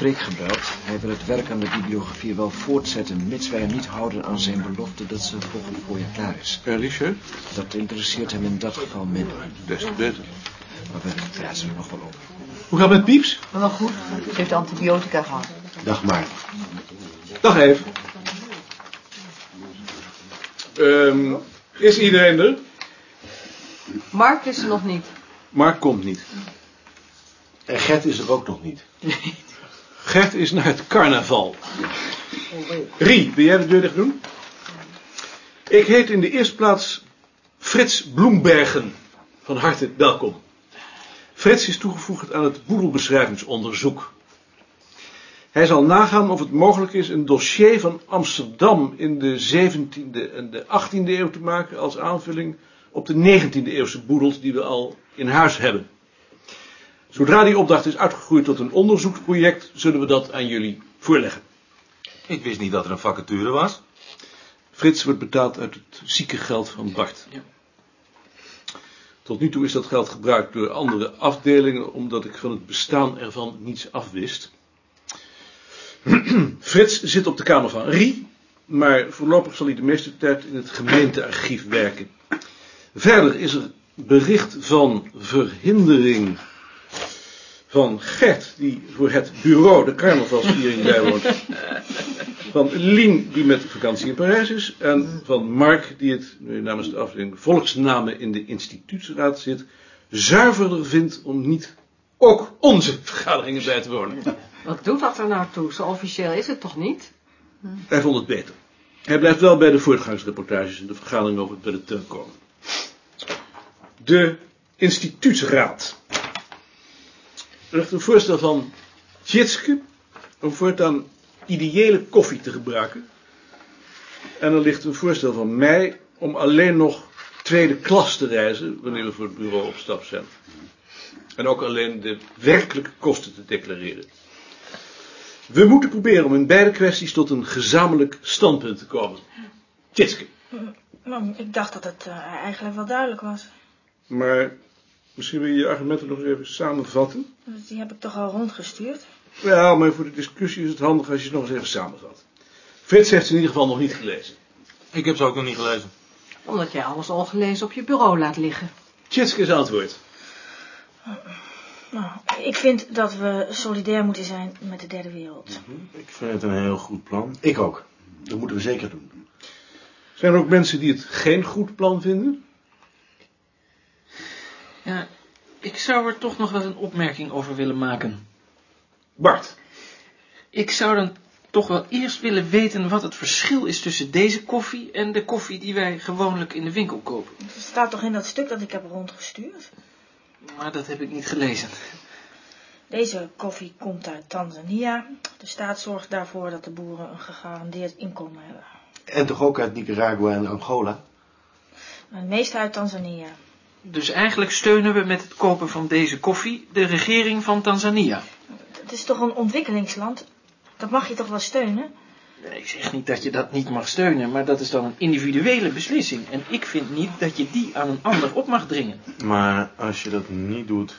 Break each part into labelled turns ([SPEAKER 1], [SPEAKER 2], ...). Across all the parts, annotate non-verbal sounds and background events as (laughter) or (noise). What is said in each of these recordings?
[SPEAKER 1] Beek gebeld. Hij wil het werk aan de bibliografie wel voortzetten... mits wij hem niet houden aan zijn belofte dat ze volgend voorjaar klaar is.
[SPEAKER 2] En Eh, Richard?
[SPEAKER 1] Dat interesseert hem in dat geval minder.
[SPEAKER 2] Des te beter.
[SPEAKER 1] Maar we praten er nog wel op.
[SPEAKER 2] Hoe gaat het met Pieps?
[SPEAKER 3] Wel goed, ze heeft antibiotica gehad.
[SPEAKER 1] Dag maar.
[SPEAKER 2] Dag even. Ehm, is iedereen er?
[SPEAKER 3] Mark is er nog niet.
[SPEAKER 2] Mark komt niet.
[SPEAKER 1] En Gert is er ook nog niet.
[SPEAKER 2] Gert is naar het carnaval. Rie, wil jij de deur dicht doen? Ik heet in de eerste plaats Frits Bloembergen. Van harte welkom. Frits is toegevoegd aan het boedelbeschrijvingsonderzoek. Hij zal nagaan of het mogelijk is een dossier van Amsterdam in de 17e en de 18e eeuw te maken als aanvulling op de 19e eeuwse boedels die we al in huis hebben. Zodra die opdracht is uitgegroeid tot een onderzoeksproject, zullen we dat aan jullie voorleggen.
[SPEAKER 4] Ik wist niet dat er een vacature was.
[SPEAKER 2] Frits wordt betaald uit het ziekengeld van Bart. Tot nu toe is dat geld gebruikt door andere afdelingen, omdat ik van het bestaan ervan niets afwist. Frits zit op de kamer van Rie, maar voorlopig zal hij de meeste tijd in het gemeentearchief werken. Verder is er bericht van verhindering van Gert, die voor het bureau de carnavalsviering bijwoont. Van Lien, die met vakantie in Parijs is. En van Mark, die het nu namens de afdeling Volksnamen in de instituutsraad zit. zuiverder vindt om niet ook onze vergaderingen bij te wonen.
[SPEAKER 3] Wat doet dat er nou toe? Zo officieel is het toch niet?
[SPEAKER 2] Hij vond het beter. Hij blijft wel bij de voortgangsreportages en de vergadering over het bij de teun komen. De instituutsraad. Er ligt een voorstel van Tjitske om voortaan ideële koffie te gebruiken. En er ligt een voorstel van mij om alleen nog tweede klas te reizen wanneer we voor het bureau op stap zijn. En ook alleen de werkelijke kosten te declareren. We moeten proberen om in beide kwesties tot een gezamenlijk standpunt te komen. Tjitske.
[SPEAKER 5] Mam, ik dacht dat het eh, eigenlijk wel duidelijk was.
[SPEAKER 2] Maar misschien wil je je argumenten nog eens even samenvatten?
[SPEAKER 5] Dus Die heb ik toch al rondgestuurd.
[SPEAKER 2] Ja, maar voor de discussie is het handig als je het nog eens even samenvat. Frits heeft ze in ieder geval nog niet gelezen.
[SPEAKER 4] Ik heb ze ook nog niet gelezen.
[SPEAKER 3] Omdat jij alles al gelezen op je bureau laat liggen.
[SPEAKER 2] Tjitske is antwoord.
[SPEAKER 5] Nou, ik vind dat we solidair moeten zijn met de derde wereld.
[SPEAKER 4] Ik vind het een heel goed plan.
[SPEAKER 1] Ik ook. Dat moeten we zeker doen.
[SPEAKER 2] Zijn er ook mensen die het geen goed plan vinden?
[SPEAKER 6] Ja, ik zou er toch nog wel een opmerking over willen maken.
[SPEAKER 2] Bart.
[SPEAKER 6] Ik zou dan toch wel eerst willen weten wat het verschil is tussen deze koffie en de koffie die wij gewoonlijk in de winkel kopen.
[SPEAKER 5] Het staat toch in dat stuk dat ik heb rondgestuurd?
[SPEAKER 6] Maar dat heb ik niet gelezen.
[SPEAKER 5] Deze koffie komt uit Tanzania. De staat zorgt daarvoor dat de boeren een gegarandeerd inkomen hebben.
[SPEAKER 1] En toch ook uit Nicaragua en Angola?
[SPEAKER 5] Maar het meeste uit Tanzania.
[SPEAKER 6] Dus eigenlijk steunen we met het kopen van deze koffie de regering van Tanzania.
[SPEAKER 5] Het is toch een ontwikkelingsland? Dat mag je toch wel steunen?
[SPEAKER 6] Nee, Ik zeg niet dat je dat niet mag steunen, maar dat is dan een individuele beslissing. En ik vind niet dat je die aan een ander op mag dringen.
[SPEAKER 4] Maar als je dat niet doet,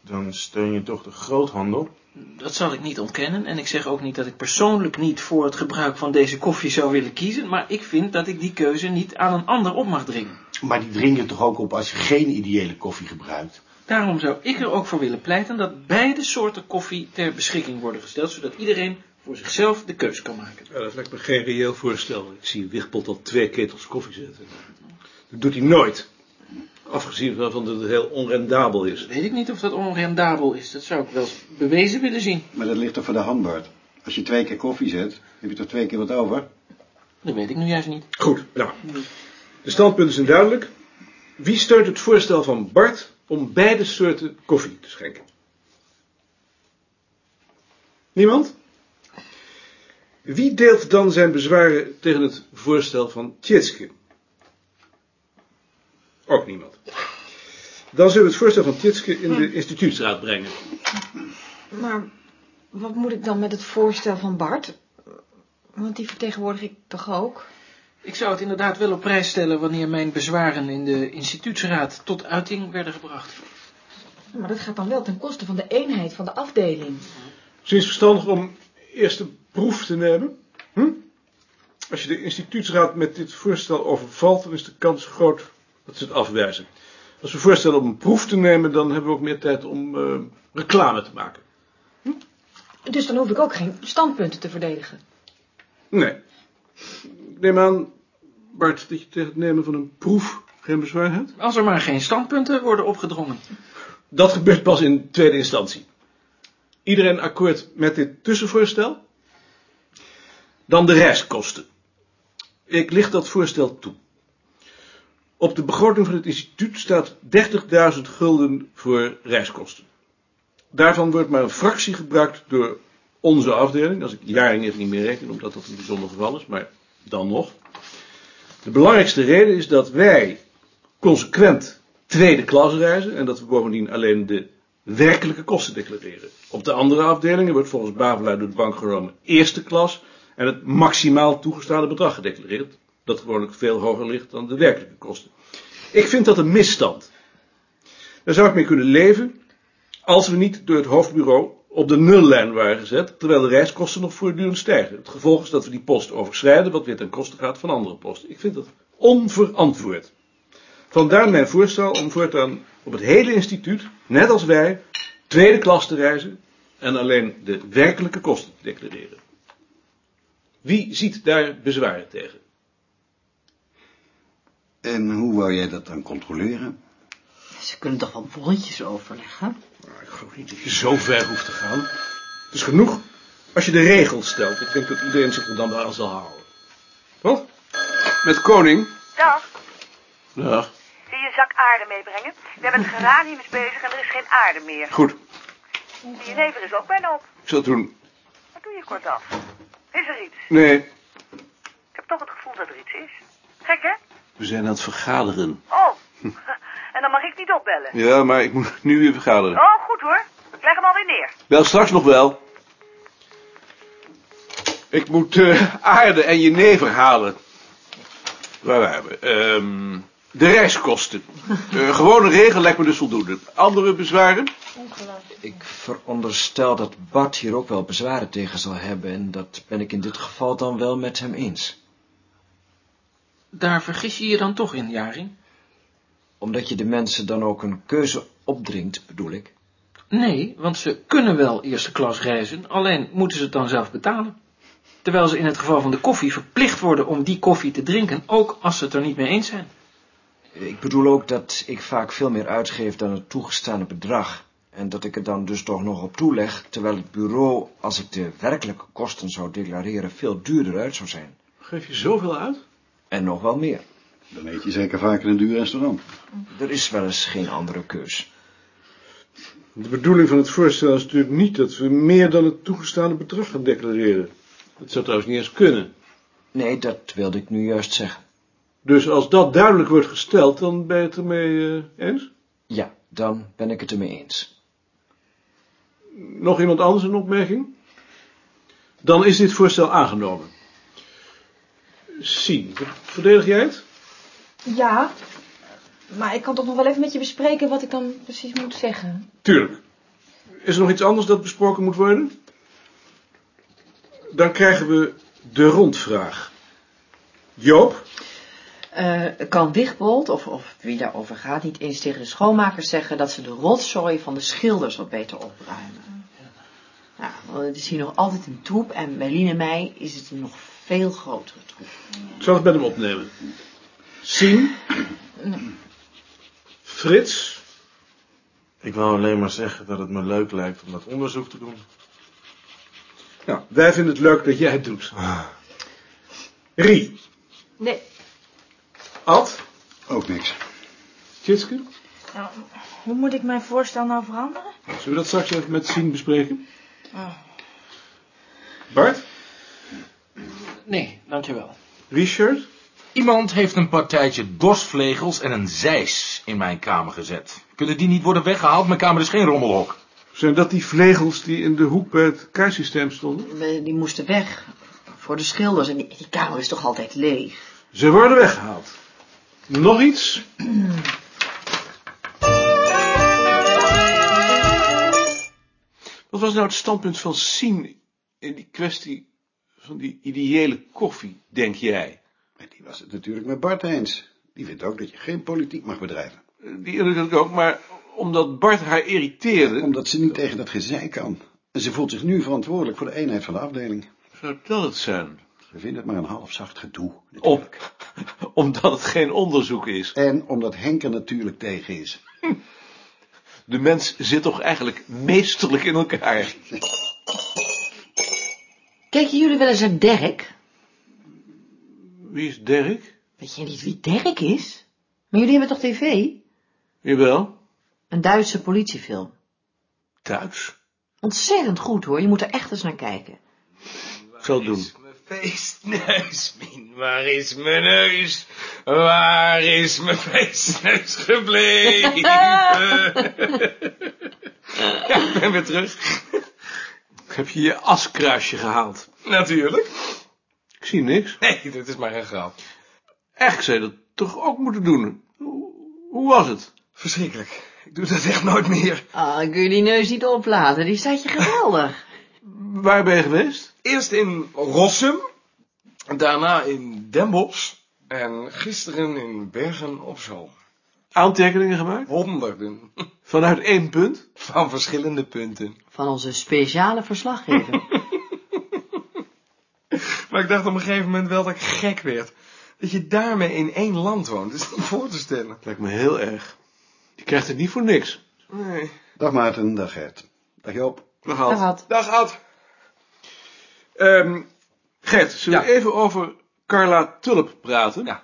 [SPEAKER 4] dan steun je toch de groothandel?
[SPEAKER 6] Dat zal ik niet ontkennen en ik zeg ook niet dat ik persoonlijk niet voor het gebruik van deze koffie zou willen kiezen, maar ik vind dat ik die keuze niet aan een ander op mag dringen.
[SPEAKER 1] Maar die dring je toch ook op als je geen ideële koffie gebruikt?
[SPEAKER 6] Daarom zou ik er ook voor willen pleiten dat beide soorten koffie ter beschikking worden gesteld, zodat iedereen voor zichzelf de keuze kan maken.
[SPEAKER 2] Ja, dat lijkt me geen reëel voorstel. Ik zie Wichtpot al twee ketels koffie zetten. Dat doet hij nooit. Afgezien van dat het heel onrendabel is.
[SPEAKER 6] Weet ik niet of dat onrendabel is, dat zou ik wel eens bewezen willen zien.
[SPEAKER 7] Maar dat ligt toch voor de hand, Bart? Als je twee keer koffie zet, heb je toch twee keer wat over?
[SPEAKER 6] Dat weet ik nu juist niet.
[SPEAKER 2] Goed, nou. De standpunten zijn duidelijk. Wie steunt het voorstel van Bart om beide soorten koffie te schenken? Niemand? Wie deelt dan zijn bezwaren tegen het voorstel van Tjitske? Ook niemand. Dan zullen we het voorstel van Tjitske in de instituutsraad brengen.
[SPEAKER 8] Maar wat moet ik dan met het voorstel van Bart? Want die vertegenwoordig ik toch ook?
[SPEAKER 6] Ik zou het inderdaad wel op prijs stellen wanneer mijn bezwaren in de instituutsraad tot uiting werden gebracht.
[SPEAKER 8] Maar dat gaat dan wel ten koste van de eenheid van de afdeling.
[SPEAKER 2] Sinds verstandig om eerst een proef te nemen? Hm? Als je de instituutsraad met dit voorstel overvalt, dan is de kans groot dat ze het afwijzen. Als we voorstellen om een proef te nemen, dan hebben we ook meer tijd om eh, reclame te maken.
[SPEAKER 8] Dus dan hoef ik ook geen standpunten te verdedigen.
[SPEAKER 2] Nee. Ik neem aan, Bart, dat je tegen het nemen van een proef geen bezwaar hebt?
[SPEAKER 6] Als er maar geen standpunten worden opgedrongen.
[SPEAKER 2] Dat gebeurt pas in tweede instantie. Iedereen akkoord met dit tussenvoorstel? Dan de reiskosten. Ik licht dat voorstel toe. Op de begroting van het instituut staat 30.000 gulden voor reiskosten. Daarvan wordt maar een fractie gebruikt door onze afdeling. Als ik jaring even niet meer reken, omdat dat een bijzonder geval is, maar dan nog. De belangrijkste reden is dat wij consequent tweede klas reizen en dat we bovendien alleen de werkelijke kosten declareren. Op de andere afdelingen wordt volgens Bavelaar door de bank genomen eerste klas en het maximaal toegestane bedrag gedeclareerd, dat gewoonlijk veel hoger ligt dan de werkelijke kosten. Ik vind dat een misstand. Daar zou ik mee kunnen leven als we niet door het hoofdbureau op de nullijn waren gezet, terwijl de reiskosten nog voortdurend stijgen. Het gevolg is dat we die post overschrijden, wat weer ten koste gaat van andere posten. Ik vind dat onverantwoord. Vandaar mijn voorstel om voortaan op het hele instituut, net als wij, tweede klas te reizen en alleen de werkelijke kosten te declareren. Wie ziet daar bezwaren tegen?
[SPEAKER 7] En hoe wou jij dat dan controleren?
[SPEAKER 9] Ze kunnen toch wel bolletjes overleggen?
[SPEAKER 2] Nou, ik geloof niet dat je zo ver hoeft te gaan. Het is genoeg als je de regels stelt. Ik denk dat iedereen zich er dan wel aan zal houden. Wat? Met koning?
[SPEAKER 10] Dag,
[SPEAKER 2] Ja.
[SPEAKER 10] wil je een zak aarde meebrengen? We hebben het geranium is bezig en er is geen aarde meer.
[SPEAKER 2] Goed,
[SPEAKER 10] Die jenever is ook bijna op.
[SPEAKER 2] ik zal het doen.
[SPEAKER 10] Wat doe je kortaf? Is er iets?
[SPEAKER 2] Nee.
[SPEAKER 10] Ik heb toch het gevoel dat er iets is. Gek, hè?
[SPEAKER 2] We zijn aan het vergaderen.
[SPEAKER 10] Oh, (laughs) en dan mag ik niet opbellen.
[SPEAKER 2] Ja, maar ik moet nu weer vergaderen.
[SPEAKER 10] Oh, goed hoor. Ik leg hem alweer neer.
[SPEAKER 2] Wel straks nog wel. Ik moet eh, aarde en jenever halen. Waar waren we? Ehm, de reiskosten. Eh, gewone regel lijkt me dus voldoende. Andere bezwaren?
[SPEAKER 5] Ongelooflijk.
[SPEAKER 1] Ik veronderstel dat Bart hier ook wel bezwaren tegen zal hebben en dat ben ik in dit geval dan wel met hem eens.
[SPEAKER 6] Daar vergis je je dan toch in, Jaring?
[SPEAKER 1] Omdat je de mensen dan ook een keuze opdringt, bedoel ik.
[SPEAKER 6] Nee, want ze kunnen wel eerste klas reizen, alleen moeten ze het dan zelf betalen. Terwijl ze in het geval van de koffie verplicht worden om die koffie te drinken, ook als ze het er niet mee eens zijn.
[SPEAKER 1] Ik bedoel ook dat ik vaak veel meer uitgeef dan het toegestane bedrag. En dat ik er dan dus toch nog op toeleg, terwijl het bureau, als ik de werkelijke kosten zou declareren, veel duurder uit zou zijn.
[SPEAKER 2] Geef je zoveel uit?
[SPEAKER 1] En nog wel meer.
[SPEAKER 7] Dan eet je zeker vaak in een duur restaurant.
[SPEAKER 1] Er is wel eens geen andere keus.
[SPEAKER 2] De bedoeling van het voorstel is natuurlijk niet dat we meer dan het toegestane bedrag gaan declareren. Dat zou trouwens niet eens kunnen.
[SPEAKER 1] Nee, dat wilde ik nu juist zeggen.
[SPEAKER 2] Dus als dat duidelijk wordt gesteld, dan ben je het ermee eh, eens?
[SPEAKER 1] Ja, dan ben ik het ermee eens.
[SPEAKER 2] Nog iemand anders een opmerking? Dan is dit voorstel aangenomen. Sien, verdedig jij het?
[SPEAKER 8] Ja, maar ik kan toch nog wel even met je bespreken wat ik dan precies moet zeggen.
[SPEAKER 2] Tuurlijk. Is er nog iets anders dat besproken moet worden? Dan krijgen we de rondvraag. Joop?
[SPEAKER 9] Eh, kan Wigbold, of, of wie daarover gaat, niet eens tegen de schoonmakers zeggen dat ze de rotzooi van de schilders wat beter opruimen? Ja, want het is hier nog altijd een troep en bij Lien en mij is het een nog veel grotere troep.
[SPEAKER 2] Ik zal het met hem opnemen. Sien? Frits?
[SPEAKER 4] Ik wou alleen maar zeggen dat het me leuk lijkt om dat onderzoek te doen.
[SPEAKER 2] Ja, Ah. wij vinden het leuk dat jij het doet. Rie?
[SPEAKER 8] Nee,
[SPEAKER 2] Ad?
[SPEAKER 7] Ook niks.
[SPEAKER 2] Tjitske?
[SPEAKER 5] Nou, hoe moet ik mijn voorstel nou veranderen?
[SPEAKER 2] Zullen we dat straks even met Sien bespreken?
[SPEAKER 5] Oh.
[SPEAKER 2] Bart?
[SPEAKER 6] Nee, dankjewel.
[SPEAKER 2] Richard?
[SPEAKER 11] Iemand heeft een partijtje dorsvlegels en een zeis in mijn kamer gezet. Kunnen die niet worden weggehaald? Mijn kamer is geen rommelhok.
[SPEAKER 2] Zijn dat die vlegels die in de hoek bij het kaarsysteem stonden?
[SPEAKER 9] We- Die moesten weg voor de schilders en die, die kamer is toch altijd leeg?
[SPEAKER 2] Ze worden weggehaald. Nog iets? Wat was nou het standpunt van Sien in die kwestie van die ideële koffie, denk jij?
[SPEAKER 7] Die was het natuurlijk met Bart eens. Die vindt ook dat je geen politiek mag bedrijven.
[SPEAKER 2] Die indruk had ik ook, maar omdat Bart haar irriteerde...
[SPEAKER 7] omdat ze niet tegen dat gezeik kan. En ze voelt zich nu verantwoordelijk voor de eenheid van de afdeling.
[SPEAKER 2] Zou dat het zijn?
[SPEAKER 7] Ze vindt het maar een halfzacht gedoe.
[SPEAKER 2] Om, omdat het geen onderzoek is.
[SPEAKER 7] En omdat Henk er natuurlijk tegen is.
[SPEAKER 2] De mens zit toch eigenlijk meesterlijk in elkaar.
[SPEAKER 9] Kijken jullie wel eens naar Dirk?
[SPEAKER 2] Wie is Dirk?
[SPEAKER 9] Weet je niet wie Dirk is? Maar jullie hebben toch tv?
[SPEAKER 2] Jawel.
[SPEAKER 9] Een Duitse politiefilm.
[SPEAKER 2] Duits?
[SPEAKER 9] Ontzettend goed hoor, je moet er echt eens naar kijken.
[SPEAKER 2] Zal doen.
[SPEAKER 1] feestneus, Mien. Waar is mijn neus? Waar is mijn feestneus
[SPEAKER 2] (laughs)
[SPEAKER 1] gebleven? ja, ik ben weer terug.
[SPEAKER 2] Heb je je askruisje gehaald?
[SPEAKER 1] Natuurlijk.
[SPEAKER 2] Ik zie niks.
[SPEAKER 1] Nee, dit is maar een grap.
[SPEAKER 2] Echt, zou je dat toch ook moeten doen? Hoe- Hoe was het?
[SPEAKER 1] Verschrikkelijk. Ik doe dat echt nooit meer.
[SPEAKER 9] Ah, kun je die neus niet oplaten, die staat je geweldig.
[SPEAKER 2] Waar ben je geweest?
[SPEAKER 1] Eerst in Rossum, daarna in Den Bosch en gisteren in Bergen op Zoom.
[SPEAKER 2] Aantekeningen gemaakt?
[SPEAKER 1] Honderden. (laughs)
[SPEAKER 2] Vanuit één punt?
[SPEAKER 1] Van verschillende punten.
[SPEAKER 9] Van onze speciale verslaggever.
[SPEAKER 1] Maar ik dacht op een gegeven moment wel dat ik gek werd. Dat je daarmee in één land woont. Dat is niet voor te stellen.
[SPEAKER 2] Lijkt me heel erg. Je krijgt het niet voor niks.
[SPEAKER 1] Nee.
[SPEAKER 7] Dag Maarten, dag Gert. Dag Joop.
[SPEAKER 2] Dag
[SPEAKER 9] Dag
[SPEAKER 2] Ad.
[SPEAKER 9] Ad.
[SPEAKER 1] Dag Ad.
[SPEAKER 2] Ehm, Gert, zullen we even over Carla Tulp praten?
[SPEAKER 1] Ja.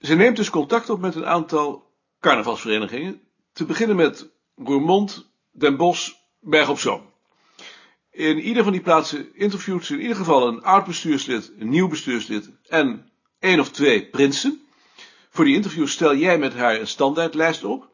[SPEAKER 2] Ze neemt dus contact op met een aantal carnavalsverenigingen. Te beginnen met Roermond, Den Bosch, Berg op Zoom. In ieder van die plaatsen interviewt ze in ieder geval een oud bestuurslid, een nieuw bestuurslid en één of twee prinsen. Voor die interviews stel jij met haar een standaardlijst op.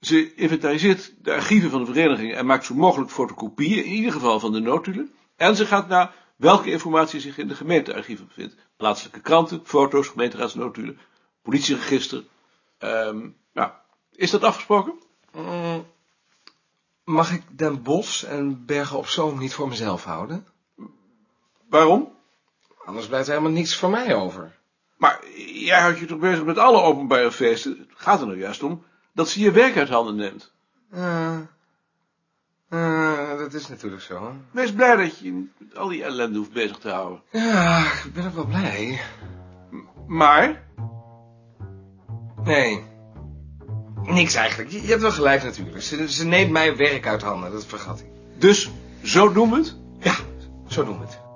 [SPEAKER 2] Ze inventariseert de archieven van de vereniging en maakt zo mogelijk fotocopieën, in ieder geval van de notulen. En ze gaat naar welke informatie zich in de gemeentearchieven bevindt. Plaatselijke kranten, foto's, gemeenteraadsnotulen, politieregister. Ehm, nou, is dat afgesproken?
[SPEAKER 1] Mm, Mag ik Den Bosch en Bergen op Zoom niet voor mezelf houden?
[SPEAKER 2] Waarom?
[SPEAKER 1] Anders blijft er helemaal niks voor mij over.
[SPEAKER 2] Maar jij houdt je toch bezig met alle openbare feesten? Het gaat er nou juist om dat ze je werk uit handen neemt.
[SPEAKER 1] Eh, eh, dat is natuurlijk zo. hè.
[SPEAKER 2] Wees blij dat je je niet met al die ellende hoeft bezig te houden.
[SPEAKER 1] Ja, ik ben ook wel blij.
[SPEAKER 2] Maar,
[SPEAKER 1] Nee. Niks eigenlijk. Je je hebt wel gelijk natuurlijk. Ze, ze neemt mij werk uit handen, dat vergat ik.
[SPEAKER 2] dus zo doen we het.
[SPEAKER 1] Ja, zo doen we het.